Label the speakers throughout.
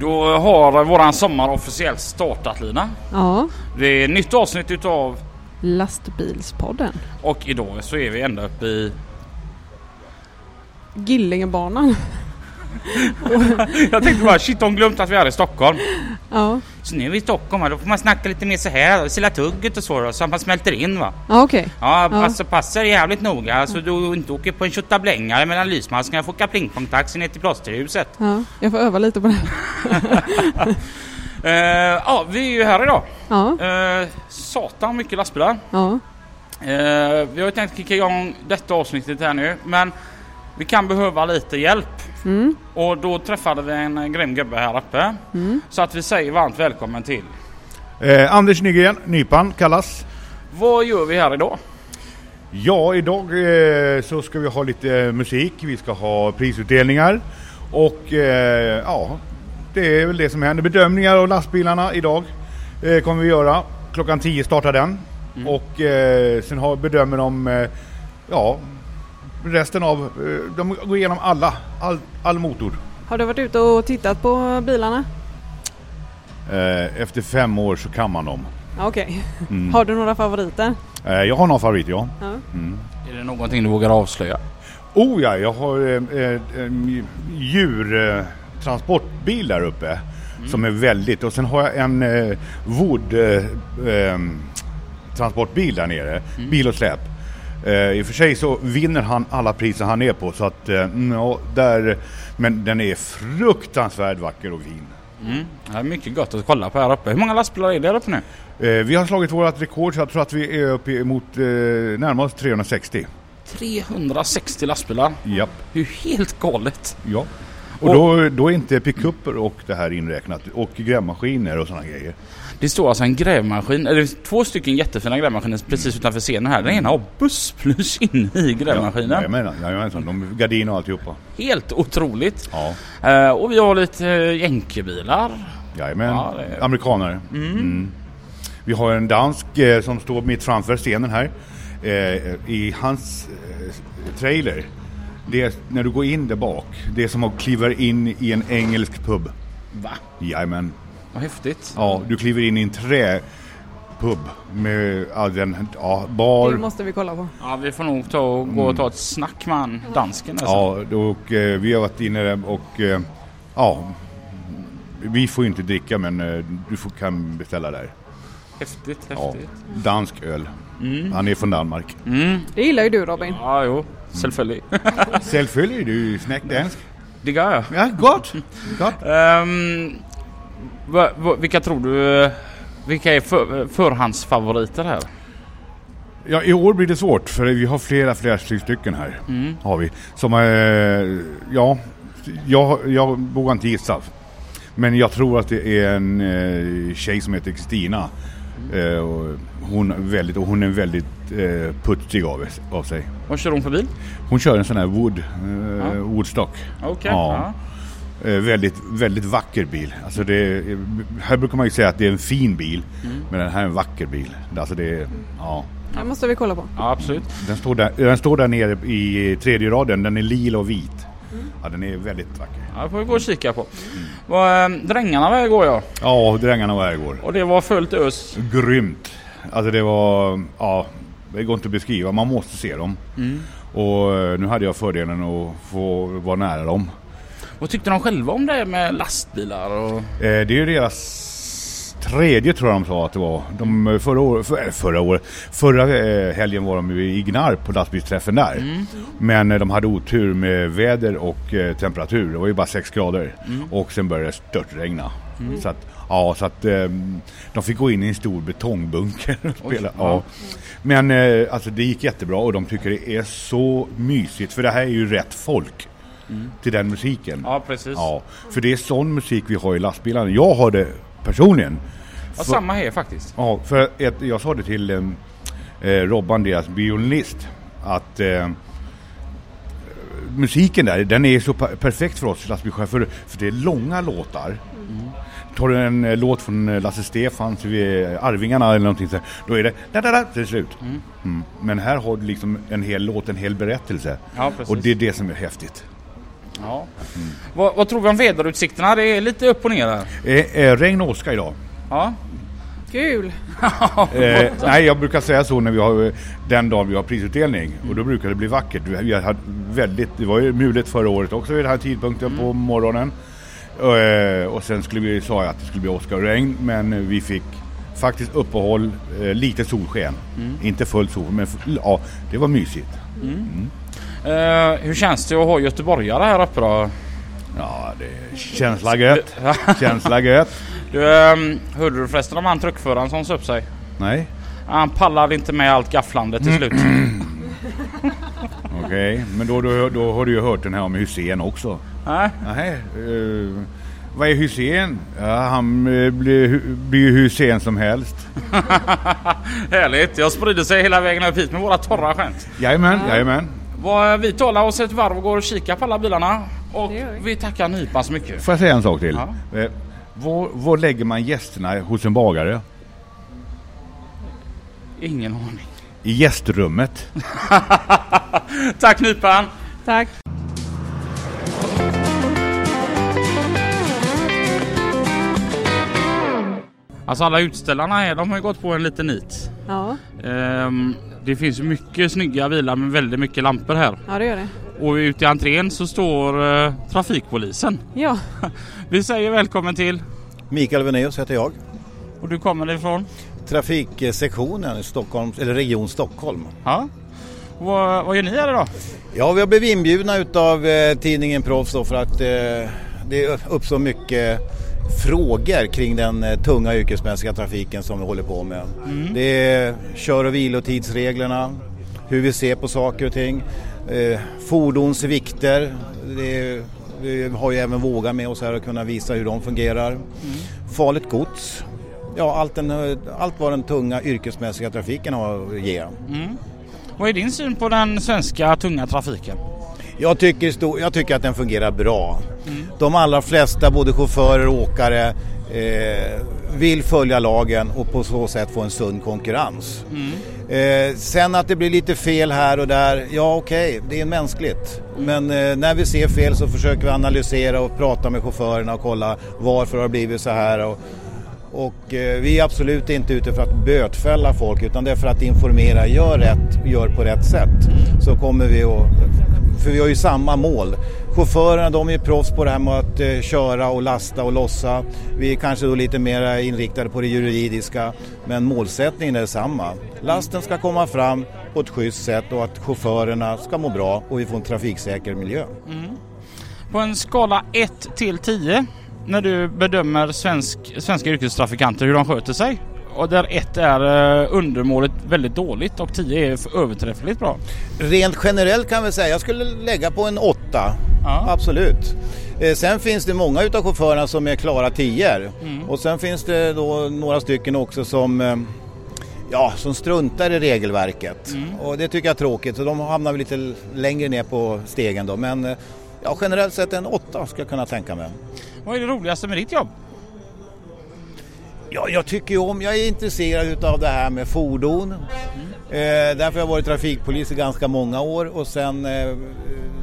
Speaker 1: Då har våran sommar officiellt startat Lina.
Speaker 2: Ja,
Speaker 1: Det är ett nytt avsnitt utav
Speaker 2: Lastbilspodden.
Speaker 1: och idag så är vi ända uppe i...
Speaker 2: Gillingebanan.
Speaker 1: Jag tänkte bara shit de glömt att vi är i Stockholm.
Speaker 2: Ja,
Speaker 1: Så nu är vi i Stockholm här, då får man snacka lite mer så här och silla tugget och så då, så att man smälter in va.
Speaker 2: ja okej.
Speaker 1: Ja,
Speaker 2: Ja.
Speaker 1: alltså passa dig jävligt noga så du inte åker på en tjottablängare mellan lysmaskarna och får åka plingpongtaxi ner till plåsterhuset.
Speaker 2: Ja, jag får öva lite på det.
Speaker 1: Eh, ja, vi är ju här idag.
Speaker 2: Ja,
Speaker 1: Uh, satan mycket lastbilar.
Speaker 2: ja,
Speaker 1: Eh, vi har ju tänkt kicka igång detta avsnittet här nu men vi kan behöva lite hjälp.
Speaker 2: mm,
Speaker 1: Och då träffade vi en eh, grym gubbe här uppe.
Speaker 2: mm.
Speaker 1: Så att vi säger varmt välkommen till.
Speaker 3: Eh, Anders Nygren, Nypan kallas.
Speaker 1: Vad gör vi här idag?
Speaker 3: Ja, idag eh, så ska vi ha lite eh, musik, vi ska ha prisutdelningar och eh, ja, det är väl det som händer. Bedömningar av lastbilarna idag eh, kommer vi göra. Klockan 10 startar den och eh, sen har, bedömer de eh, ja, resten av, eh, de går igenom alla, all, all motor.
Speaker 2: Har du varit ute och tittat på bilarna?
Speaker 3: Eh, efter fem år så kan man dem.
Speaker 2: Ja, okej. Har du några favoriter?
Speaker 3: Eh, jag har någon favorit ja.
Speaker 2: Ja.
Speaker 1: Är det någonting du vågar avslöja?
Speaker 3: Oh ja, jag har eh, eh, djurtransportbil där uppe som är väldigt och sen har jag en eh, wood eh, eh, transportbil där nere, bil och släp. Eh, I och för sig så vinner han alla priser han är på så att eh, mm, ja, där, men den är fruktansvärt vacker och fin.
Speaker 1: Mm. Det är mycket gott att kolla på här uppe. Hur många lastbilar är det här uppe nu?
Speaker 3: Eh, vi har slagit vårt rekord så jag tror att vi är uppe emot eh, närmare oss 360.
Speaker 1: 360 lastbilar.
Speaker 3: Japp.
Speaker 1: Det är ju helt galet.
Speaker 3: Ja. Och, då, då är inte pickuper och det här inräknat och grävmaskiner och sådana grejer.
Speaker 1: Det står alltså en grävmaskin, eller det finns två stycken jättefina grävmaskiner precis utanför scenen här. Den ena har bussplus inne i
Speaker 3: Ja,
Speaker 1: grävmaskinen.
Speaker 3: jag menar, jajamensan, de gardiner och alltihopa.
Speaker 1: Helt otroligt.
Speaker 3: Ja,
Speaker 1: Eh, och vi har lite eh, jänkebilar.
Speaker 3: jajamän.
Speaker 1: Ja, det är-
Speaker 3: Amerikanare. Mm. Vi har en dansk eh, som står mitt framför scenen här. Eh, I hans eh, trailer, det är, när du går in där bak, det är som att kliva in i en engelsk pub.
Speaker 1: Va?
Speaker 3: Jajamän.
Speaker 1: Vad häftigt.
Speaker 3: Ja, du kliver in i en träpub med all den, ja, bar.
Speaker 2: Det måste vi kolla på.
Speaker 1: Ja, vi får nog ta och gå och ta ett snack med han, dansken. Alltså.
Speaker 3: Mm. Ja, och eh, vi har varit inne där och eh, ja, vi får ju inte dricka men eh, du får, kan beställa där.
Speaker 1: Häftigt,
Speaker 3: Ja,
Speaker 1: häftigt.
Speaker 3: dansk öl. Han är från Danmark.
Speaker 1: Ja, mm.
Speaker 2: Det gillar ju du Robin.
Speaker 1: ja
Speaker 3: Mm.
Speaker 1: jo. Självföljd.
Speaker 3: Självföljer du snäck dansk?
Speaker 1: Det gör jag.
Speaker 3: Ja, gott! gott.
Speaker 1: Ehm, va, va, vilka tror du... eh, Vilka är för, förhandsfavoriter här?
Speaker 3: Ja, i år blir det svårt för vi har flera, flera stycken här. Har vi. Som, eh, ja, jag, jag vågar inte gissa. Men jag tror att det är en eh, tjej som heter Kristina. Eh, och hon, är väldigt, och hon är väldigt eh, putsig av, av sig.
Speaker 1: Vad kör hon för bil?
Speaker 3: Hon kör en sån här Wood, eh,
Speaker 1: Ja.
Speaker 3: Woodstock.
Speaker 1: Okej.
Speaker 3: Ja. Eh, väldigt, väldigt vacker bil. Alltså det, är- här brukar man ju säga att det är en fin bil. Men den här är en vacker bil. Alltså det, är- ja.
Speaker 2: Det måste vi kolla på.
Speaker 1: Ja, absolut.
Speaker 3: Den står, där, den står där nere i tredje raden, den är lila och vit. Ja, den är väldigt vacker.
Speaker 1: Ja, det får vi gå och kika på. Vad, ehm, Drängarna var igår ja.
Speaker 3: Ja, och Drängarna var här igår.
Speaker 1: Och det var fullt
Speaker 3: Mm.
Speaker 1: ös.
Speaker 3: Grymt! Alltså det var, ja, det går inte att beskriva, man måste se dem. Och eh, nu hade jag fördelen att få vara nära dem.
Speaker 1: Vad tyckte de själva om det här med lastbilar och...
Speaker 3: Eh, Det är ju deras tredje tror jag de sa att det var. De, eh, förra, år, för, eh, förra, året, förra eh, helgen var de ju i Gnarp på lastbilsträffen där. Men eh, de hade otur med väder och eh, temperatur. Det var ju bara 6 grader. Och sen började det störtregna. Så att, ja, så att ehm, de fick gå in i en stor betongbunker och spela. Ja. Men eh, alltså det gick jättebra och de tycker det är så mysigt för det här är ju rätt folk till den musiken.
Speaker 1: Ja, precis.
Speaker 3: Ja, för det är sån musik vi har i lastbilarna. Jag har det personligen.
Speaker 1: Ja, samma här faktiskt.
Speaker 3: Ja, för ett, jag sa det till eh, eh, Robban, deras violinist, att eh, musiken där, den är så per- perfekt för oss lastbilschaufförer, för det är långa låtar.
Speaker 1: Mm.
Speaker 3: Tar du en eh, låt från eh, Lasse Stefans eh, Arvingarna eller någonting så här, då är det där, där, där, till slut. Mm. Men här har du liksom en hel låt, en hel berättelse.
Speaker 1: Ja, precis.
Speaker 3: och det är det som är häftigt.
Speaker 1: Ja. Vad, vad tror vi om väderutsikterna? Det är lite upp och ner här.
Speaker 3: Eh, eh, regn och åska idag.
Speaker 1: Ja.
Speaker 2: Kul!
Speaker 3: Eh, nej, jag brukar säga så när vi har eh, den dagen vi har prisutdelning och då brukar det bli vackert. Vi, vi hade väldigt, det var ju mulet förra året också vid den här tidpunkten på morgonen. Eh, och sen skulle vi, sa jag att det skulle bli åska och regn, men eh, vi fick faktiskt uppehåll, eh, lite solsken. Inte full sol, men f- ja, det var mysigt.
Speaker 1: Eh, hur känns det att ha göteborgare här uppe då?
Speaker 3: Ja, det känns la gött. känns la gött.
Speaker 1: Du, ehm, hörde du förresten om han truckföraren som sa upp sig?
Speaker 3: Nej,
Speaker 1: Han pallade inte med allt gafflande till slut.
Speaker 3: okej. Men då, då, då har du ju hört den här om Hussein också.
Speaker 1: Nej.
Speaker 3: Nej, eh, vad är Hussein? Ja, han eh, blir hu- blir ju hur sen som helst.
Speaker 1: Härligt, jag sprider sig hela vägen upp hit med våra torra skämt.
Speaker 3: Jajamän, jajamän.
Speaker 1: Vad, eh, vi talar oss ett varv och går och kikar på alla bilarna. Och
Speaker 2: Det gör vi.
Speaker 1: vi tackar nypan så mycket.
Speaker 3: Får jag säga en sak till?
Speaker 1: Ja.
Speaker 3: Eh, var, var lägger man gästerna hos en bagare?
Speaker 1: Ingen aning.
Speaker 3: I gästrummet.
Speaker 1: Tack nypan!
Speaker 2: Tack!
Speaker 1: Alltså alla utställarna här, de har ju gått på en liten nit.
Speaker 2: Ja,
Speaker 1: Ehm, det finns ju mycket snygga bilar med väldigt mycket lampor här.
Speaker 2: ja det gör det.
Speaker 1: Och ute i entrén så står eh, trafikpolisen.
Speaker 2: Ja,
Speaker 1: Vi säger välkommen till.
Speaker 4: Mikael Venaeus heter jag.
Speaker 1: Och du kommer ifrån?
Speaker 4: Trafiksektionen i Stockholm, eller Region Stockholm.
Speaker 1: Ja. Vad, vad gör ni här idag?
Speaker 4: Ja, vi har blivit inbjudna utav eh, tidningen Proffs då för att eh, det uppstår mycket frågor kring den eh, tunga yrkesmässiga trafiken som vi håller på med. Det är kör och vilotidsreglerna, hur vi ser på saker och ting, eh, fordons vikter. Det är, vi har ju även Våga med oss här och kunna visa hur de fungerar. Farligt gods, ja allt, den, eh, allt vad den tunga yrkesmässiga trafiken har att ge.
Speaker 1: Vad är din syn på den svenska tunga trafiken?
Speaker 4: Jag tycker, sto- jag tycker att den fungerar bra. De allra flesta, både chaufförer och åkare, eh, vill följa lagen och på så sätt få en sund konkurrens. Eh, sen att det blir lite fel här och där, ja okej, det är mänskligt. Men eh, när vi ser fel så försöker vi analysera och prata med chaufförerna och kolla varför har det blivit så här. Och, och eh, vi är absolut inte ute för att bötfälla folk utan det är för att informera, gör rätt, gör på rätt sätt. Så kommer vi att, för vi har ju samma mål. Chaufförerna de är ju proffs på det här med att eh, köra och lasta och lossa. Vi är kanske då lite mer inriktade på det juridiska men målsättningen är samma. Lasten ska komma fram på ett schysst sätt och att chaufförerna ska må bra och vi får en trafiksäker miljö.
Speaker 1: På en skala 1 till 10 när du bedömer svensk, svenska yrkestrafikanter hur de sköter sig och där 1 är eh, undermåligt väldigt dåligt och 10 är för överträffligt bra.
Speaker 4: Rent generellt kan vi säga, jag skulle lägga på en åtta.
Speaker 1: Ja.
Speaker 4: Absolut. Eh, Sen finns det många utav chaufförerna som är klara tior. Och sen finns det då några stycken också som, eh, ja, som struntar i regelverket. Och det tycker jag är tråkigt, så de hamnar väl lite längre ner på stegen då. Men eh, ja, generellt sett en åtta skulle jag kunna tänka mig.
Speaker 1: Vad är det roligaste med ditt jobb?
Speaker 4: Ja, jag tycker ju om, jag är intresserad utav det här med fordon. Eh, därför har jag varit trafikpolis i ganska många år och sen eh,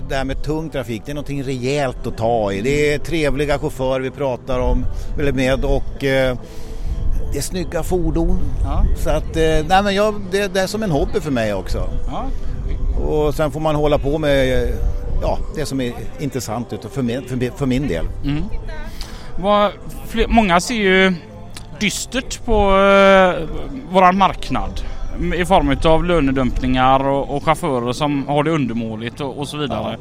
Speaker 4: det här med tung trafik, det är någonting rejält att ta i. Det är trevliga chaufförer vi pratar om, eller med och eh, det är snygga fordon.
Speaker 1: Ja.
Speaker 4: Så att, eh, nej men jag, det, det är som en hobby för mig också.
Speaker 1: Ja.
Speaker 4: Och sen får man hålla på med eh, ja, det som är intressant utav- för min, för, min- för min del.
Speaker 1: Vad, fler, många ser ju dystert på eh, våran marknad. i form av lönedumpningar och, och chaufförer som har det undermåligt och, och så vidare.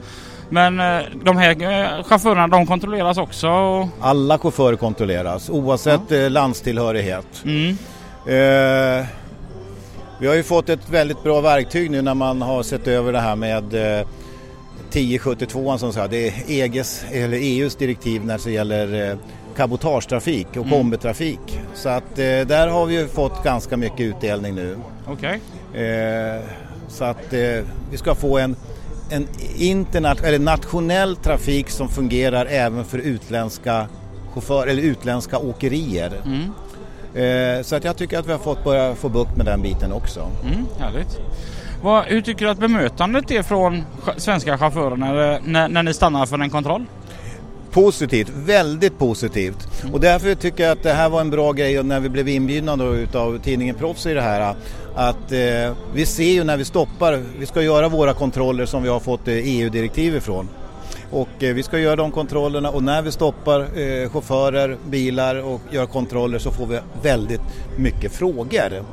Speaker 1: Men eh, de här eh, chaufförerna de kontrolleras också. Och,
Speaker 4: Alla chaufförer kontrolleras oavsett eh, landstillhörighet.
Speaker 1: mm,
Speaker 4: Eh, vi har ju fått ett väldigt bra verktyg nu när man har sett över det här med eh, 1072 som sagt, det är EGs, eller EUs direktiv när det gäller eh, cabotagetrafik och kombitrafik. Så att eh, där har vi ju fått ganska mycket utdelning nu.
Speaker 1: Okej.
Speaker 4: Eh, så att eh, vi ska få en, en internationell, eller nationell trafik som fungerar även för utländska chaufförer eller utländska åkerier.
Speaker 1: Mm.
Speaker 4: Eh, så att jag tycker att vi har fått börja få bukt med den biten också.
Speaker 1: Mm, härligt. Vad, hur tycker du att bemötandet är från cha- svenska chaufförer när, eh, när, när ni stannar för en kontroll?
Speaker 4: Positivt, väldigt positivt. Och därför tycker jag att det här var en bra grej och när vi blev inbjudna då utav tidningen Proffs i det här. Att eh, vi ser ju när vi stoppar, vi ska göra våra kontroller som vi har fått eh, EU-direktiv ifrån. Och eh, vi ska göra de kontrollerna och när vi stoppar eh, chaufförer, bilar och gör kontroller så får vi väldigt mycket frågor.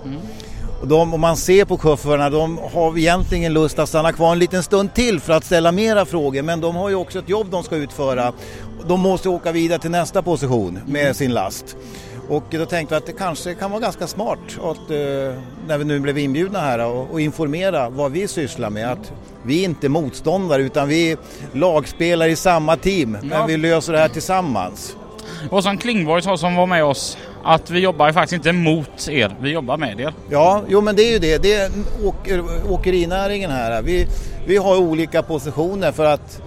Speaker 4: Och de, om man ser på chaufförerna, de har egentligen lust att stanna kvar en liten stund till för att ställa mera frågor. Men de har ju också ett jobb de ska utföra. De måste åka vidare till nästa position med sin last. Och då tänkte vi att det kanske kan vara ganska smart att, eh, när vi nu blev inbjudna här och, och informera vad vi sysslar med. Att vi är inte motståndare utan vi är lagspelare i samma team.
Speaker 1: Ja.
Speaker 4: Men vi löser det här tillsammans.
Speaker 1: Och som Klingborg sa som var med oss, att vi jobbar ju faktiskt inte mot er, vi jobbar med er.
Speaker 4: Ja, jo men det är ju det. Det är åker, åkerinäringen här. Vi, vi har olika positioner för att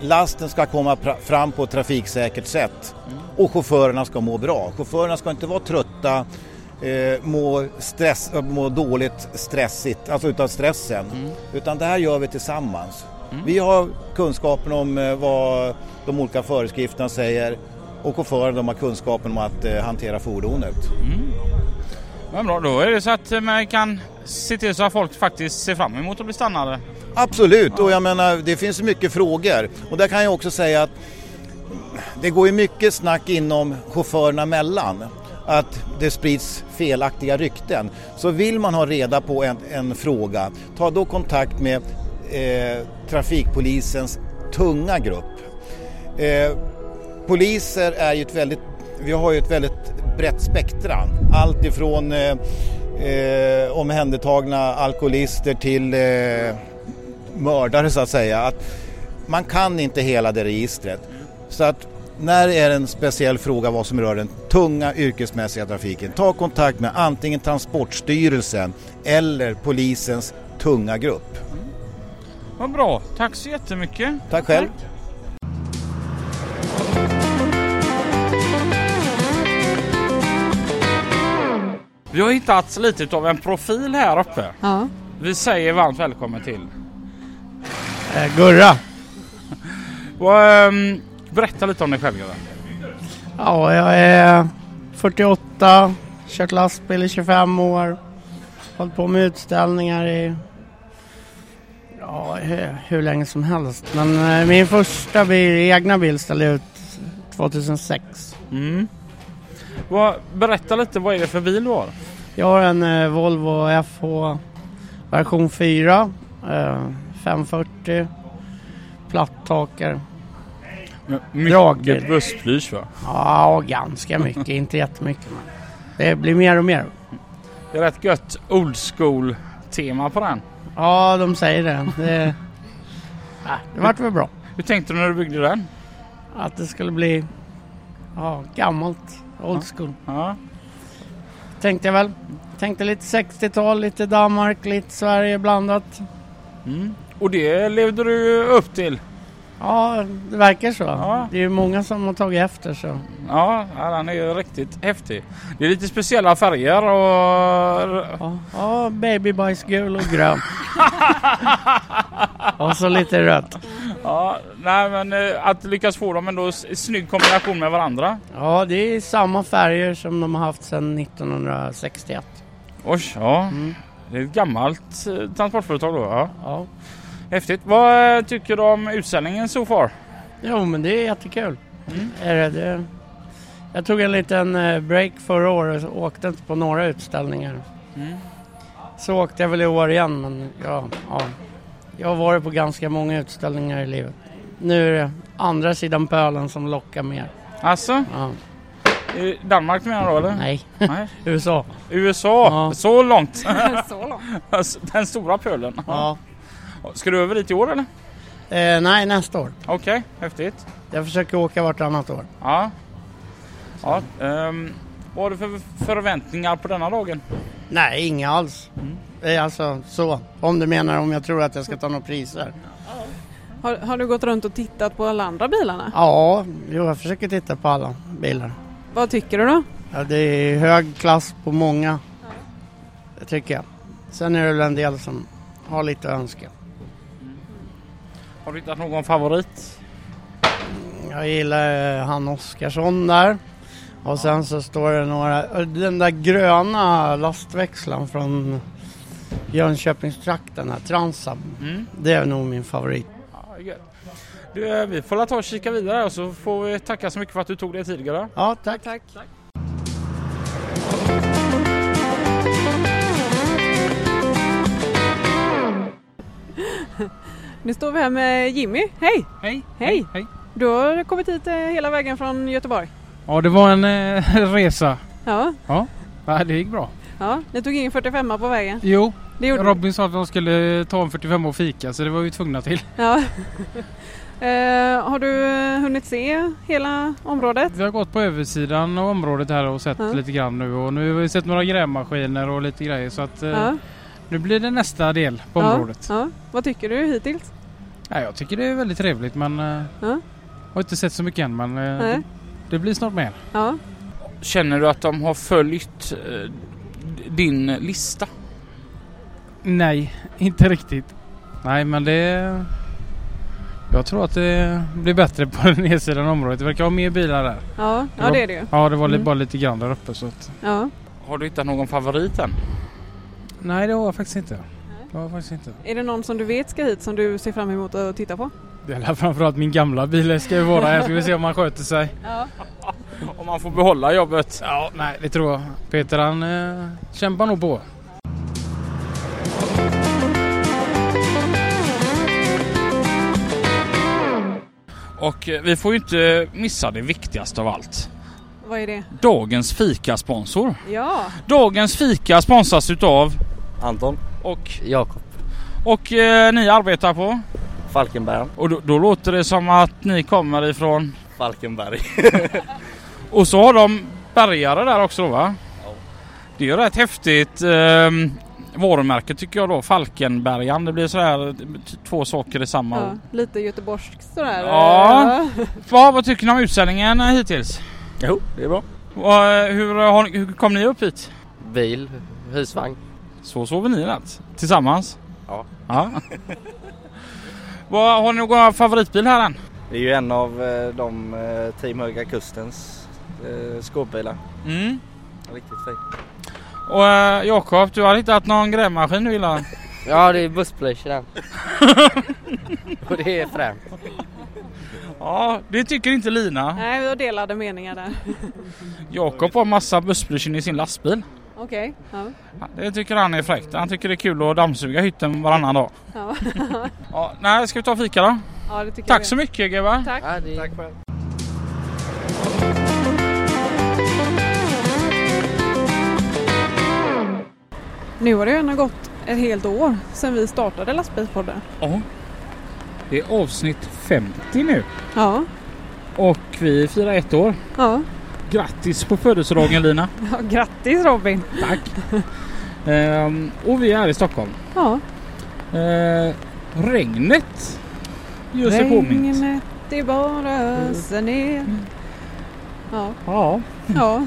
Speaker 4: lasten ska komma pra- fram på ett trafiksäkert sätt. Och chaufförerna ska må bra. Chaufförerna ska inte vara trötta, eh, må, stress, eh, må dåligt stressigt, alltså utav stressen. Utan det här gör vi tillsammans. Vi har kunskapen om eh, vad de olika föreskrifterna säger och chaufförerna de har kunskapen om att eh, hantera fordonet.
Speaker 1: Men bra, då är det så att eh, man kan se till så att folk faktiskt ser fram emot att bli stannade.
Speaker 4: Absolut, och jag menar det finns mycket frågor. Och där kan jag också säga att det går ju mycket snack inom chaufförerna mellan. Att det sprids felaktiga rykten. Så vill man ha reda på en, en fråga, ta då kontakt med eh, trafikpolisens tunga grupp. Eh, poliser är ju ett väldigt, vi har ju ett väldigt brett spektra. Allt ifrån eh, eh, omhändertagna alkoholister till eh, mördare så att säga. Att man kan inte hela det registret. Så att när det är en speciell fråga vad som rör den tunga yrkesmässiga trafiken, ta kontakt med antingen Transportstyrelsen eller polisens tunga grupp.
Speaker 1: Vad bra, tack så jättemycket.
Speaker 4: Tack själv!
Speaker 1: Vi har hittat lite av en profil här uppe.
Speaker 2: Ja.
Speaker 1: Vi säger varmt välkommen till.
Speaker 5: Eh, Gurra.
Speaker 1: Och, ehm, berätta lite om dig själv Göran.
Speaker 5: Ja, jag är 48, kört lastbil i 25 år, hållit på med utställningar i ja, hur, hur länge som helst. Men eh, min första bil, egna bil ställde jag ut 2006.
Speaker 1: Mm. Vad- Berätta lite, vad är det för bil du har?
Speaker 5: Jag har en eh, Volvo FH version 4, eh, 540, platttaker.
Speaker 1: Mycket
Speaker 5: Dragbil.
Speaker 1: bussflyg va?
Speaker 5: Ja, ganska mycket, inte jättemycket men det blir mer och mer.
Speaker 1: Det är rätt gött old school tema på den.
Speaker 5: Ja, de säger det. Det, Nej, det vart väl bra.
Speaker 1: Hur tänkte du när du byggde den?
Speaker 5: Att det skulle bli ja, gammalt, old school.
Speaker 1: Ja.
Speaker 5: Tänkte jag väl. Tänkte lite 60-tal, lite Danmark, lite Sverige blandat.
Speaker 1: Mm. Och det levde du ju upp till.
Speaker 5: Ja, det verkar så.
Speaker 1: Ja.
Speaker 5: Det är ju många som har tagit efter så.
Speaker 1: Ja, ja, den är ju riktigt häftig. Det är lite speciella färger och...
Speaker 5: Ja, ja babybajsgul och grön. och så lite rött.
Speaker 1: Ja, nej men eh, att lyckas få dem ändå i snygg kombination med varandra.
Speaker 5: Ja, det är samma färger som de har haft sedan 1961.
Speaker 1: Oj, ja.
Speaker 5: Mm.
Speaker 1: Det är ett gammalt eh, transportföretag då. Ja.
Speaker 5: Ja.
Speaker 1: Häftigt. Vad eh, tycker du om utställningen so far?
Speaker 5: Jo, men det är jättekul. Är det, det. Jag tog en liten eh, break förra året och åkte inte på några utställningar. Så åkte jag väl i år igen men ja, ja. Jag har varit på ganska många utställningar i livet. Nu är det andra sidan pölen som lockar mer.
Speaker 1: Alltså,
Speaker 5: Ja,
Speaker 1: i Danmark menar du eller?
Speaker 5: nej,
Speaker 1: Nej.
Speaker 5: USA.
Speaker 1: USA,
Speaker 5: Ja.
Speaker 1: så långt. Alltså,
Speaker 2: Så långt.
Speaker 1: Den stora pölen.
Speaker 5: Ja.
Speaker 1: Ska du över dit i år eller?
Speaker 5: Eh, nej, nästa år.
Speaker 1: Okej, häftigt.
Speaker 5: Jag försöker åka vartannat år.
Speaker 1: Ja. ja ehm, vad har du för förväntningar på denna dagen?
Speaker 5: Nej, inga alls.
Speaker 1: Mm.
Speaker 5: Eh, Alltså så, om du menar om jag tror att jag ska ta några priser.
Speaker 2: Har, har du gått runt och tittat på alla andra bilarna?
Speaker 5: Ja, jo, jag försöker titta på alla bilar.
Speaker 2: Vad tycker du då?
Speaker 5: Ja, det är hög klass på många, det tycker jag. Sen är det väl en del som har lite att önska.
Speaker 1: Har du hittat någon favorit?
Speaker 5: Jag gillar eh, han Oskarsson där. Och sen så står det några, eh, den där gröna lastväxlaren från Jönköpingstrakten, här, Transam.
Speaker 1: Mm.
Speaker 5: Det är nog min favorit.
Speaker 1: Ja, gött. du, eh, vi får la ta och kika vidare och så får vi tacka så mycket för att du tog dig tid Gerda.
Speaker 5: Ja, tack.
Speaker 2: Nu står vi här med Jimmy. Hej!
Speaker 6: Hej!
Speaker 2: Hej!
Speaker 6: Hej!
Speaker 2: Du har kommit hit eh, hela vägen från Göteborg.
Speaker 6: Ja, det var en eh, resa.
Speaker 2: Ja,
Speaker 6: Ja, det gick bra.
Speaker 2: ja. ni tog in 45 på vägen.
Speaker 6: Jo,
Speaker 2: Det gjorde ni.
Speaker 6: Robin sa att de skulle ta en 45 och fika så det var vi tvungna till.
Speaker 2: Ja. Eh, har du eh, hunnit se hela området?
Speaker 6: Vi har gått på översidan av området här och sett
Speaker 2: Ja.
Speaker 6: lite grann nu och nu har vi sett några grävmaskiner och lite grejer så att eh,
Speaker 2: Ja,
Speaker 6: nu blir det nästa del på
Speaker 2: ja,
Speaker 6: området.
Speaker 2: Ja. Vad tycker du hittills?
Speaker 6: Ja, jag tycker det är väldigt trevligt men eh,
Speaker 2: Ja.
Speaker 6: har inte sett så mycket än men eh,
Speaker 2: Nej.
Speaker 6: det, det blir snart mer.
Speaker 2: Ja.
Speaker 1: Känner du att de har följt eh, din lista?
Speaker 6: Nej, inte riktigt. Nej, men det... Jag tror att det blir bättre på den nedsidan av området. Det verkar ha mer bilar där.
Speaker 2: Ja. ja, det är det ju.
Speaker 6: Ja, det var li-
Speaker 2: Mm.
Speaker 6: bara lite grann där uppe så att...
Speaker 2: Ja.
Speaker 1: Har du hittat någon favorit än?
Speaker 6: Nej, det har jag faktiskt inte. Det har jag faktiskt inte.
Speaker 2: Är det någon som du vet ska hit som du ser fram emot att titta på?
Speaker 6: Det är framförallt min gamla bil ska ju vara här. Ska vi se om han sköter sig.
Speaker 2: Ja.
Speaker 1: Om man får behålla jobbet?
Speaker 6: Ja, nej, det tror jag. Peter han eh, kämpar nog på.
Speaker 1: Och eh, vi får ju inte missa det viktigaste av allt.
Speaker 2: Vad är det?
Speaker 1: Dagens fikasponsor.
Speaker 2: Ja,
Speaker 1: Dagens fika sponsras utav
Speaker 7: Anton
Speaker 1: och,
Speaker 7: Jakob
Speaker 1: och eh, ni arbetar på.
Speaker 7: Falkenberg.
Speaker 1: Och då, då låter det som att ni kommer ifrån.
Speaker 7: Falkenberg.
Speaker 1: Och så har de bärgare där också då va?
Speaker 7: Ja.
Speaker 1: Det är ju rätt häftigt ehm, varumärke tycker jag då. Falkenbergaren. Det blir sådär t- två saker i samma.
Speaker 2: ja. lite göteborgskt sådär.
Speaker 1: Ja. Va, vad tycker ni om utställningen eh, hittills?
Speaker 7: Jo, det är bra.
Speaker 1: Och, eh, hur, har, ni- hur kom ni upp hit?
Speaker 7: Bil, husvagn.
Speaker 1: Så sover ni i natt? Tillsammans?
Speaker 7: Ja.
Speaker 1: ja. Vad- har ni någon favoritbil här än?
Speaker 7: Det är ju en av eh, de eh, Team Höga Kustens eh, skåpbilar.
Speaker 1: Mm.
Speaker 7: Riktigt fin.
Speaker 1: Och eh, Jakob, du har hittat någon grävmaskin du gillar?
Speaker 8: Ja det är bussbleach i den. Och det är fränt.
Speaker 1: Ja, det tycker inte Lina.
Speaker 2: Nej, vi har delade meningar där.
Speaker 1: Jakob har massa bussblyschen i sin lastbil.
Speaker 2: Okej. Ja.
Speaker 1: Det tycker han är fräckt. Han tycker det är kul att dammsuga hytten varannan dag.
Speaker 2: Ja.
Speaker 1: Ja, nej, ska vi ta fika då?
Speaker 2: ja, det tycker
Speaker 1: Tack
Speaker 2: jag.
Speaker 1: så mycket gubbar.
Speaker 2: Tack.
Speaker 8: Ja, det är...
Speaker 2: Nu har det ju ändå gått ett helt år sedan vi startade Lastbilspodden.
Speaker 1: Ja. Det är avsnitt 50 nu
Speaker 2: Ja,
Speaker 1: och vi firar ett år.
Speaker 2: ja.
Speaker 1: Grattis på födelsedagen Lina.
Speaker 2: ja grattis Robin!
Speaker 1: Tack. Ehm, och vi är i Stockholm.
Speaker 2: Ja,
Speaker 1: Ehm, regnet gör sig påmint.
Speaker 2: regnet i bara öser ner. Mm. Ja,
Speaker 1: Ja.
Speaker 2: ja,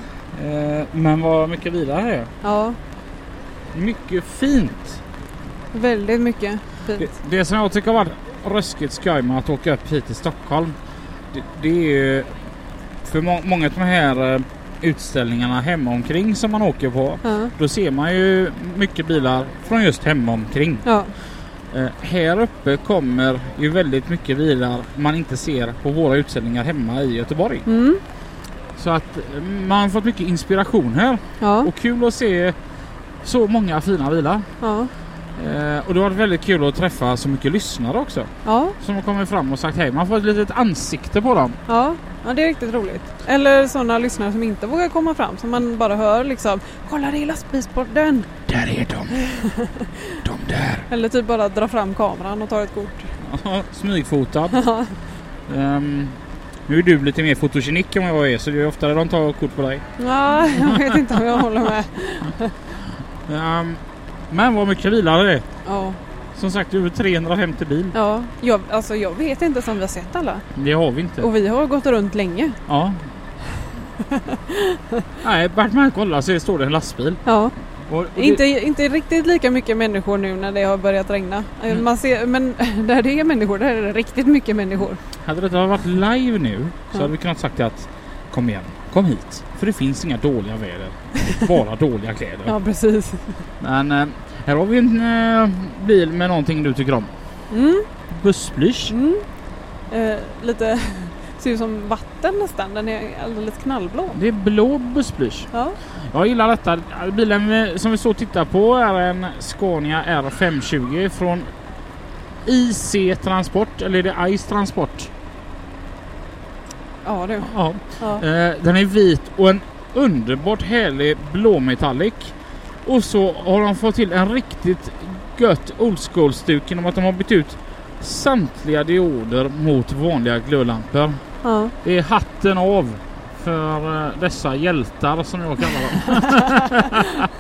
Speaker 1: Ehm, men vad mycket vidare här är.
Speaker 2: ja.
Speaker 1: Mycket fint.
Speaker 2: Väldigt mycket
Speaker 1: Det,
Speaker 2: fint.
Speaker 1: det som jag tycker har varit ruskigt skoj med att åka upp hit till Stockholm. Det, det är ju för må- många av de här eh, utställningarna hemma omkring som man åker på.
Speaker 2: Ja,
Speaker 1: Då ser man ju mycket bilar från just hemma omkring.
Speaker 2: ja,
Speaker 1: Eh, här uppe kommer ju väldigt mycket bilar man inte ser på våra utställningar hemma i Göteborg.
Speaker 2: mm,
Speaker 1: Så att eh, man har fått mycket inspiration här.
Speaker 2: ja,
Speaker 1: Och kul att se Så många fina bilar.
Speaker 2: Ja.
Speaker 1: Eh, och det har varit väldigt kul att träffa så mycket lyssnare också.
Speaker 2: Ja.
Speaker 1: Som har kommit fram och sagt hej. Man får ett litet ansikte på dem.
Speaker 2: Ja, ja det är riktigt roligt. Eller sådana lyssnare som inte vågar komma fram som man bara hör liksom Kolla det är lastbilspodden!
Speaker 1: Där är de! de där!
Speaker 2: Eller typ bara dra fram kameran och ta ett kort.
Speaker 1: Ja, Smygfotad. Ehm, nu är du lite mer fotogenik än vad jag är så det är ju oftare de tar kort på dig.
Speaker 2: Ja, jag vet inte om jag håller med.
Speaker 1: Ehm, men vad mycket bilar det är.
Speaker 2: Ja,
Speaker 1: Som sagt över 350 bil.
Speaker 2: ja. Jag, alltså jag vet inte som vi har sett alla.
Speaker 1: Det har vi inte.
Speaker 2: Och vi har gått runt länge.
Speaker 1: Ja. Nej, vart man kollar så står det en lastbil.
Speaker 2: Ja.
Speaker 1: Och, och det-
Speaker 2: Inte, inte riktigt lika mycket människor nu när det har börjat regna. Eh, Man ser, men där det är människor, där är det riktigt mycket människor.
Speaker 1: Hade detta varit live nu så
Speaker 2: Ja.
Speaker 1: hade vi kunnat sagt att kom igen, kom hit. För det finns inga dåliga väder. Bara dåliga kläder.
Speaker 2: Ja, precis.
Speaker 1: Men eh, här har vi en eh, bil med någonting du tycker om.
Speaker 2: Mm,
Speaker 1: Bussblysch.
Speaker 2: mm. Eh, lite, ser ut som vatten nästan. Den är alldeles knallblå.
Speaker 1: Det är blå bussblysch.
Speaker 2: Ja.
Speaker 1: Jag gillar detta. Bilen eh, som vi så tittar på är en Scania R520 från IC Transport, eller är det ICE Transport?
Speaker 2: Ja du.
Speaker 1: Ja.
Speaker 2: Ja.
Speaker 1: Eh, Den är vit och en underbart härlig blåmetallic. Och så har de fått till en riktigt gött old school-stuk genom att de har bytt ut samtliga dioder mot vanliga glödlampor.
Speaker 2: Ja.
Speaker 1: Det är hatten av för eh, dessa hjältar som jag kallar dem.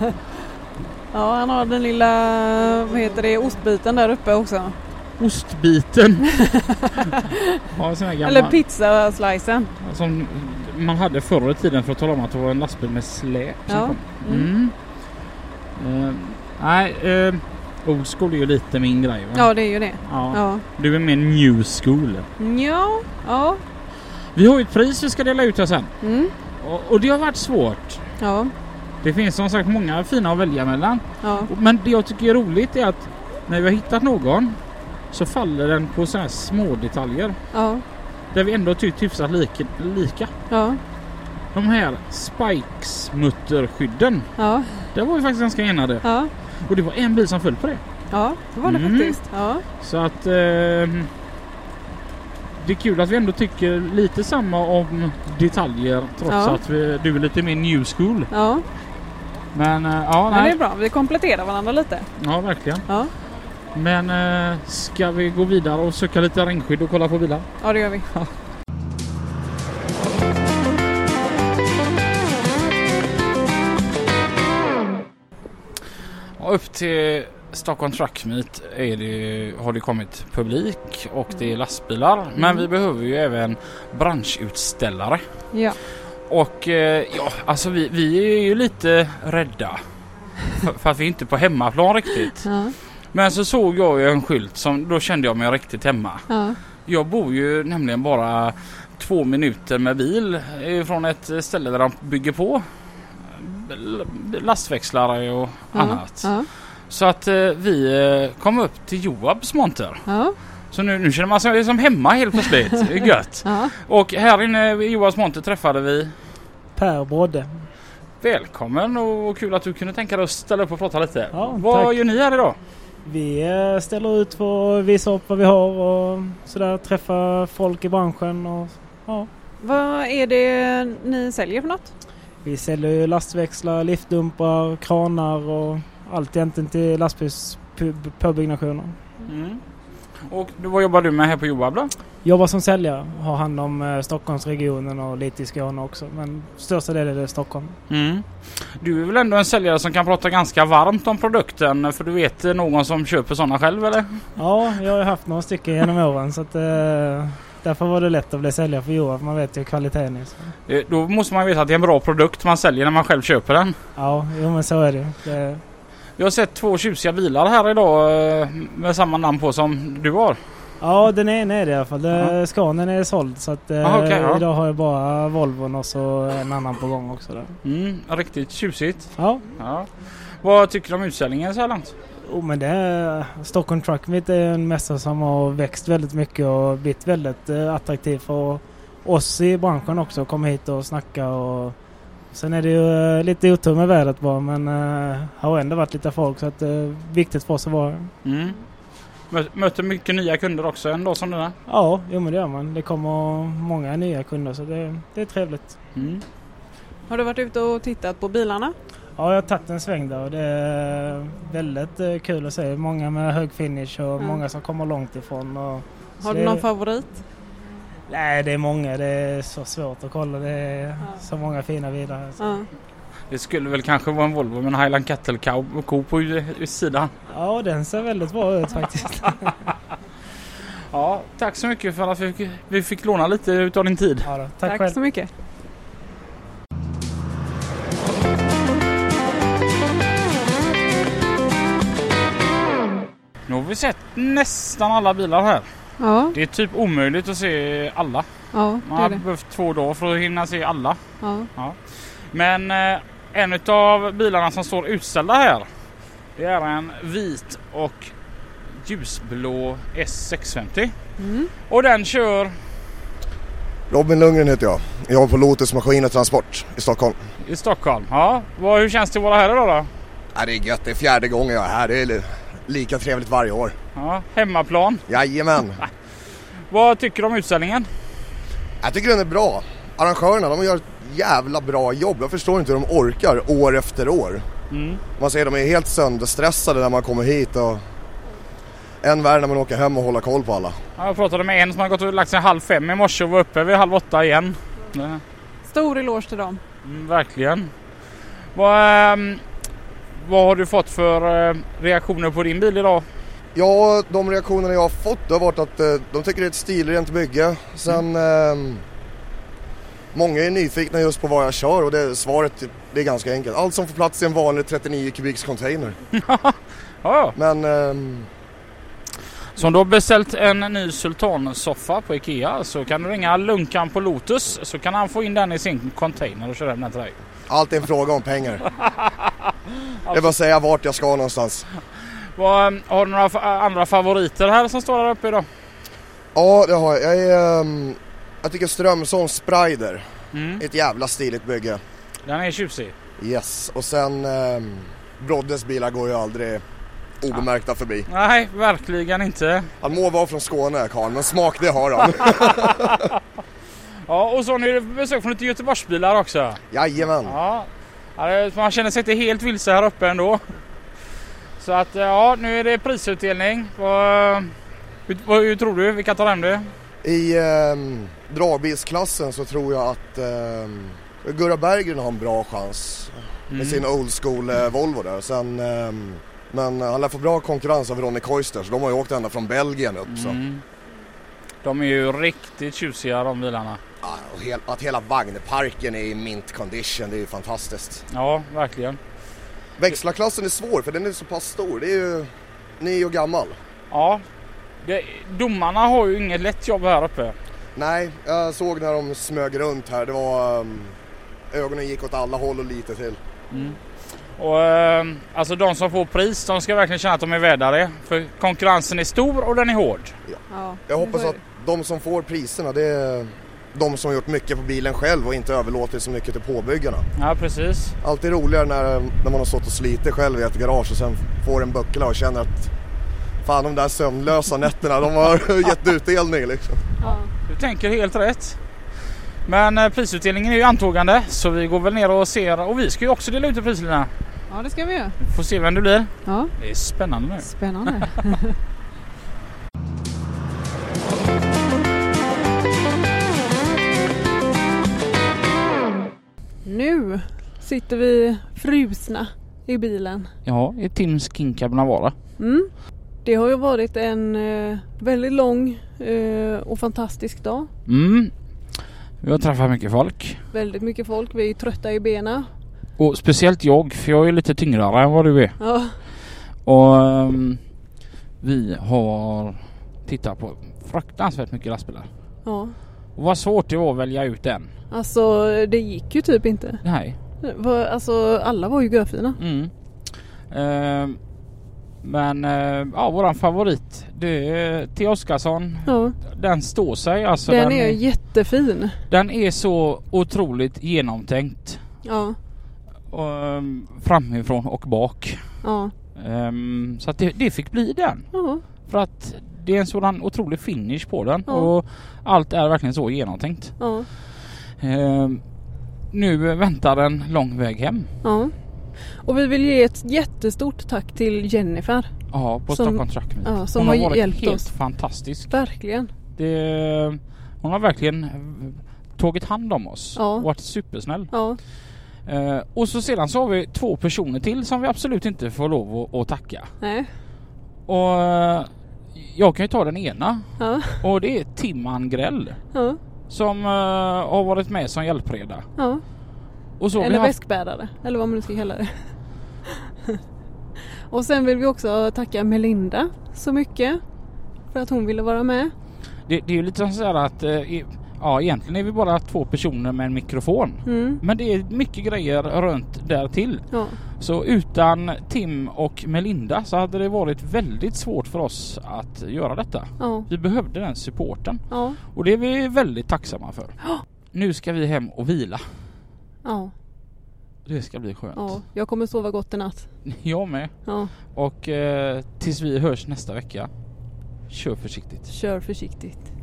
Speaker 2: ja, han har den lilla, vad heter det, ostbiten där uppe också.
Speaker 1: Ostbiten. ja, sån här gammal,
Speaker 2: Eller pizzaslicen.
Speaker 1: som man hade förr i tiden för att tala om att det var en lastbil med släp. som
Speaker 2: Ja.
Speaker 1: kom. Mm. Eh, nej, eh, old school är ju lite min grej va?
Speaker 2: Ja, det är ju det.
Speaker 1: Ja.
Speaker 2: Ja.
Speaker 1: Du är mer new school.
Speaker 2: Ja. Ja.
Speaker 1: Vi har ju ett pris vi ska dela ut här sen.
Speaker 2: Mm.
Speaker 1: Och, och det har varit svårt.
Speaker 2: Ja.
Speaker 1: Det finns som sagt många fina att välja mellan.
Speaker 2: Ja.
Speaker 1: Men det jag tycker är roligt är att när vi har hittat någon så faller den på sådana här små detaljer
Speaker 2: Ja.
Speaker 1: Där vi ändå tyckt hyfsat lika. lika.
Speaker 2: Ja.
Speaker 1: De här spikesmutterskydden.
Speaker 2: Ja.
Speaker 1: Där var vi faktiskt ganska enade.
Speaker 2: Ja.
Speaker 1: Och det var en bil som föll på det.
Speaker 2: Ja, det var det
Speaker 1: Mm.
Speaker 2: faktiskt. Ja.
Speaker 1: Så att... ehm, det är kul att vi ändå tycker lite samma om detaljer trots
Speaker 2: Ja.
Speaker 1: att vi, du är lite mer new school.
Speaker 2: Ja.
Speaker 1: Men eh, ja,
Speaker 2: Men det
Speaker 1: nej.
Speaker 2: är bra. Vi kompletterar varandra lite.
Speaker 1: Ja, verkligen.
Speaker 2: Ja.
Speaker 1: Men eh, ska vi gå vidare och söka lite regnskydd och kolla på bilar?
Speaker 2: Ja, det gör vi.
Speaker 1: Ja, upp till Stockholm Truck Meet är det, har det kommit publik och det är lastbilar.
Speaker 2: Mm.
Speaker 1: Men vi behöver ju även branschutställare.
Speaker 2: Ja.
Speaker 1: Och eh, ja, alltså vi, vi är ju lite rädda. För, för att vi inte är på hemmaplan riktigt.
Speaker 2: Ja.
Speaker 1: Men så såg jag ju en skylt som då kände jag mig riktigt hemma.
Speaker 2: Ja.
Speaker 1: Jag bor ju nämligen bara två minuter med bil från ett ställe där de bygger på lastväxlare och
Speaker 2: Ja.
Speaker 1: annat.
Speaker 2: Ja.
Speaker 1: Så att eh, vi eh, kom upp till Joabs monter.
Speaker 2: Ja.
Speaker 1: Så nu, nu känner man sig som hemma helt plötsligt. Det är Gött!
Speaker 2: Ja.
Speaker 1: Och här inne i Joabs monter träffade vi
Speaker 9: Per Brodde.
Speaker 1: Välkommen och kul att du kunde tänka dig att ställa upp och prata lite.
Speaker 9: Ja,
Speaker 1: Vad
Speaker 9: tack.
Speaker 1: gör ni här idag?
Speaker 9: Vi eh, ställer ut för att visa upp vad vi har och sådär träffa folk i branschen. Och, ja.
Speaker 2: Vad är det ni säljer för något?
Speaker 9: Vi säljer ju lastväxlar, liftdumpar, kranar och allt egentligen till lastbilspåbyggnationer.
Speaker 1: Mm. Och du- vad jobbar du med här på Joab då?
Speaker 9: Jobbar som säljare, har hand om eh, Stockholmsregionen och lite i Skåne också men största delen är det Stockholm.
Speaker 1: Mm. Du är väl ändå en säljare som kan prata ganska varmt om produkten för du vet eh, någon som köper sådana själv eller?
Speaker 9: Ja, jag har ju haft några stycken genom åren så att, eh, därför var det lätt att bli säljare för Johan för man vet ju kvaliteten. är så.
Speaker 1: Eh, Då måste man ju veta att det är en bra produkt man säljer när man själv köper den.
Speaker 9: Ja, jo, men så är det ju. det
Speaker 1: Jag har sett två tjusiga bilar här idag eh, med samma namn på som du har.
Speaker 9: Ja, den ena är det i alla fall. Ja. Skanen är såld så att eh,
Speaker 1: Aha, okej, ja.
Speaker 9: idag har jag bara Volvon och så en annan på gång också. Där.
Speaker 1: Mm, riktigt tjusigt.
Speaker 9: Ja,
Speaker 1: Ja. Vad tycker du om utställningen så här långt?
Speaker 9: oh, men det är, Stockholm Truck Meet är en mässa som har växt väldigt mycket och blivit väldigt eh, attraktiv för oss i branschen också att komma hit och snacka och Sen är det ju eh, lite otur med vädret bara men eh, har ändå varit lite folk så att det är viktigt för oss att vara här.
Speaker 1: Mm. Mö- Möter mycket nya kunder också en dag som denna.
Speaker 9: Ja, jo men det gör man. Det kommer många nya kunder så det, det är trevligt.
Speaker 1: Mm.
Speaker 2: Har du varit ute och tittat på bilarna?
Speaker 9: Ja, jag har tagit en sväng där och det är väldigt eh, kul att se. Många med hög finish och
Speaker 2: Mm.
Speaker 9: många som kommer långt ifrån. Och, så
Speaker 2: Har du
Speaker 9: det-
Speaker 2: någon favorit?
Speaker 9: Nej, det är många. Det är så svårt att kolla. Det är så många fina bilar. Så.
Speaker 2: Ja.
Speaker 1: Det skulle väl kanske vara en Volvo med en Highland Cattle Cow- Ko på u- sidan.
Speaker 9: Ja, den ser väldigt bra ut faktiskt.
Speaker 1: Ja, tack så mycket för att vi fick, vi fick låna lite utav din tid.
Speaker 9: Ja, då. Tack,
Speaker 2: Tack,
Speaker 9: själv.
Speaker 2: så mycket.
Speaker 1: Nu har vi sett nästan alla bilar här.
Speaker 2: Ja,
Speaker 1: Det är typ omöjligt att se alla.
Speaker 2: ja det
Speaker 1: Man
Speaker 2: är
Speaker 1: har
Speaker 2: det.
Speaker 1: behövt två dagar för att hinna se alla.
Speaker 2: Ja.
Speaker 1: Men eh, en utav bilarna som står utställda här. Det är en vit och ljusblå S650.
Speaker 2: Mm.
Speaker 1: Och den kör
Speaker 4: Robin Lundgren heter jag. Jag jobbar på Lotus Maskin och Transport i Stockholm.
Speaker 1: i Stockholm. Ja, vad, hur känns det att vara här idag då?
Speaker 4: Ja, det är gött, det är fjärde gången jag är här. Det är li- lika trevligt varje år.
Speaker 1: Ja, hemmaplan.
Speaker 4: Jajamän.
Speaker 1: Vad tycker du om utställningen?
Speaker 4: Jag tycker den är bra. Arrangörerna, de gör ett jävla bra jobb. Jag förstår inte hur de orkar år efter år.
Speaker 1: Mm.
Speaker 4: Man ser de är helt sönderstressade när man kommer hit och än värre när man åker hem och håller koll på alla.
Speaker 1: Ja, Jag pratade med en som har gått och lagt sig halv fem i morse och var uppe vid halv åtta igen. Ja,
Speaker 2: Stor eloge till dem.
Speaker 1: mm, verkligen. Vad, ehm, vad har du fått för eh, reaktioner på din bil idag?
Speaker 4: Ja, de reaktionerna jag har fått det har varit att eh, de tycker det är ett stilrent bygge.
Speaker 7: Mm.
Speaker 4: Sen ehm, många är nyfikna just på vad jag kör och det, svaret det är ganska enkelt. Allt som får plats i en vanlig 39 kubiks container.
Speaker 1: Ja,
Speaker 4: Men ehm,
Speaker 1: Så om du har beställt en ny sultansoffa på Ikea så kan du ringa Lunkan på Lotus så kan han få in den i sin container och köra hem den till dig.
Speaker 4: allt är en fråga om pengar. Det är bara att säga vart jag ska någonstans.
Speaker 1: Vad, eh, har du några fa- andra favoriter här som står där uppe idag?
Speaker 4: Ja, det har jag. Jag, är, ehm, jag tycker Strömsholms Sprider
Speaker 1: Mm.
Speaker 4: är ett jävla stiligt bygge.
Speaker 1: Den är tjusig.
Speaker 4: Yes, och sen ehm, Broddes bilar går ju aldrig obemärkta förbi.
Speaker 1: Nej, verkligen inte.
Speaker 4: Han må vara från Skåne karln, men smak det har han.
Speaker 1: Ja, och så har ni besök från lite Göteborgsbilar också.
Speaker 4: Jajamän.
Speaker 1: Ja. Ja, det- man känner sig inte helt vilse här uppe ändå. Så att eh, ja, nu är det prisutdelning. Vad, hur, vad, hur tror du? Vilka tar hem det?
Speaker 4: I ehm, dragbilsklassen så tror jag att ehm, Gurra Berggren har en bra chans
Speaker 1: Mm.
Speaker 4: med sin old school eh, Volvo där. Sen, ehm, men han lär få bra konkurrens av Ronny Koister så de har ju åkt ända från Belgien upp. Så.
Speaker 1: Mm. De är ju riktigt tjusiga de bilarna.
Speaker 4: Ja, Ah, och hel, att hela vagnparken är i mint condition, det är ju fantastiskt.
Speaker 1: Ja, verkligen.
Speaker 4: Växlarklassen är svår för den är så pass stor. Det är ju ny och gammal.
Speaker 1: Ja. Det, domarna har ju inget lätt jobb här uppe.
Speaker 4: Nej, jag såg när de smög runt här. Det var... ehm, ögonen gick åt alla håll och lite till.
Speaker 1: Och, eh, alltså de som får pris de ska verkligen känna att de är värda det. För konkurrensen är stor och den är hård.
Speaker 2: Ja.
Speaker 4: Jag hoppas
Speaker 2: Så är
Speaker 4: att de som får priserna det är de som har gjort mycket på bilen själv och inte överlåtit så mycket till påbyggarna.
Speaker 1: Ja, precis.
Speaker 4: Alltid roligare när, när man har stått och slitit själv i ett garage och sen får en buckla och känner att fan de där sömnlösa nätterna de har gett utdelning liksom.
Speaker 1: Du tänker helt rätt. Men eh, prisutdelningen är ju antågande så vi går väl ner och ser. Och vi ska ju också dela ut i priserna.
Speaker 2: Ja, det ska vi göra.
Speaker 1: Vi får se vem det blir.
Speaker 2: Ja,
Speaker 1: Det är spännande nu.
Speaker 2: spännande. nu sitter vi frusna i bilen.
Speaker 1: Ja, i Tim Skinkab Navara.
Speaker 2: Mm. Det har ju varit en eh, väldigt lång eh, och fantastisk dag.
Speaker 1: Mm. Vi har träffat mycket folk.
Speaker 2: Väldigt mycket folk, vi är trötta i benen.
Speaker 1: Och speciellt jag, för jag är lite tyngre än vad du är.
Speaker 2: Ja,
Speaker 1: Och ehm, vi har tittat på fruktansvärt mycket lastbilar.
Speaker 2: ja.
Speaker 1: Och vad svårt det var att välja ut en.
Speaker 2: Alltså det gick ju typ inte.
Speaker 1: Nej.
Speaker 2: Va- Alltså alla var ju görfina.
Speaker 1: Mm. Ehm, men eh, ja, våran favorit det är T. Oskarsson.
Speaker 2: Ja.
Speaker 1: Den står sig alltså.
Speaker 2: Den är jättefin.
Speaker 1: den är så otroligt genomtänkt.
Speaker 2: Ja.
Speaker 1: Och, ehm, framifrån och bak.
Speaker 2: Ja.
Speaker 1: Ehm, så att det, det fick bli den.
Speaker 2: Ja.
Speaker 1: För att det är en sådan otrolig finish på den
Speaker 2: Ja.
Speaker 1: och allt är verkligen så genomtänkt.
Speaker 2: Ja.
Speaker 1: Ehm, nu väntar en lång väg hem.
Speaker 2: ja. Och vi vill ge ett jättestort tack till Jennifer.
Speaker 1: Ja, på
Speaker 2: Som-
Speaker 1: Stockholm Truck Meet.
Speaker 2: ja, som
Speaker 1: Hon
Speaker 2: har
Speaker 1: varit
Speaker 2: hjälpt
Speaker 1: helt
Speaker 2: oss.
Speaker 1: fantastisk.
Speaker 2: Verkligen.
Speaker 1: Det, hon har verkligen eh, tagit hand om oss
Speaker 2: Ja.
Speaker 1: och varit supersnäll.
Speaker 2: Ja.
Speaker 1: Eh, och så sedan så har vi två personer till som vi absolut inte får lov att, att tacka.
Speaker 2: Nej.
Speaker 1: Och eh, jag kan ju ta den ena
Speaker 2: Ja.
Speaker 1: och det är Tim Angrell
Speaker 2: Ja.
Speaker 1: som eh, har varit med som hjälpreda.
Speaker 2: Ja.
Speaker 1: Och så har vi
Speaker 2: eller
Speaker 1: haft-
Speaker 2: väskbärare, eller vad man nu ska kalla det. och sen vill vi också tacka Melinda så mycket för att hon ville vara med.
Speaker 1: Det, det är ju lite som så här att eh, i- ja, egentligen är vi bara två personer med en mikrofon.
Speaker 2: Mm.
Speaker 1: Men det är mycket grejer runt där till.
Speaker 2: Ja.
Speaker 1: Så utan Tim och Melinda så hade det varit väldigt svårt för oss att göra detta.
Speaker 2: Ja.
Speaker 1: Vi behövde den supporten
Speaker 2: Ja.
Speaker 1: och det är vi väldigt tacksamma för. Nu ska vi hem och vila.
Speaker 2: Ja.
Speaker 1: Det ska bli skönt.
Speaker 2: ja. Jag kommer sova gott i natt.
Speaker 1: Jag med.
Speaker 2: Ja.
Speaker 1: Och eh, tills vi hörs nästa vecka. Kör försiktigt.
Speaker 2: Kör försiktigt.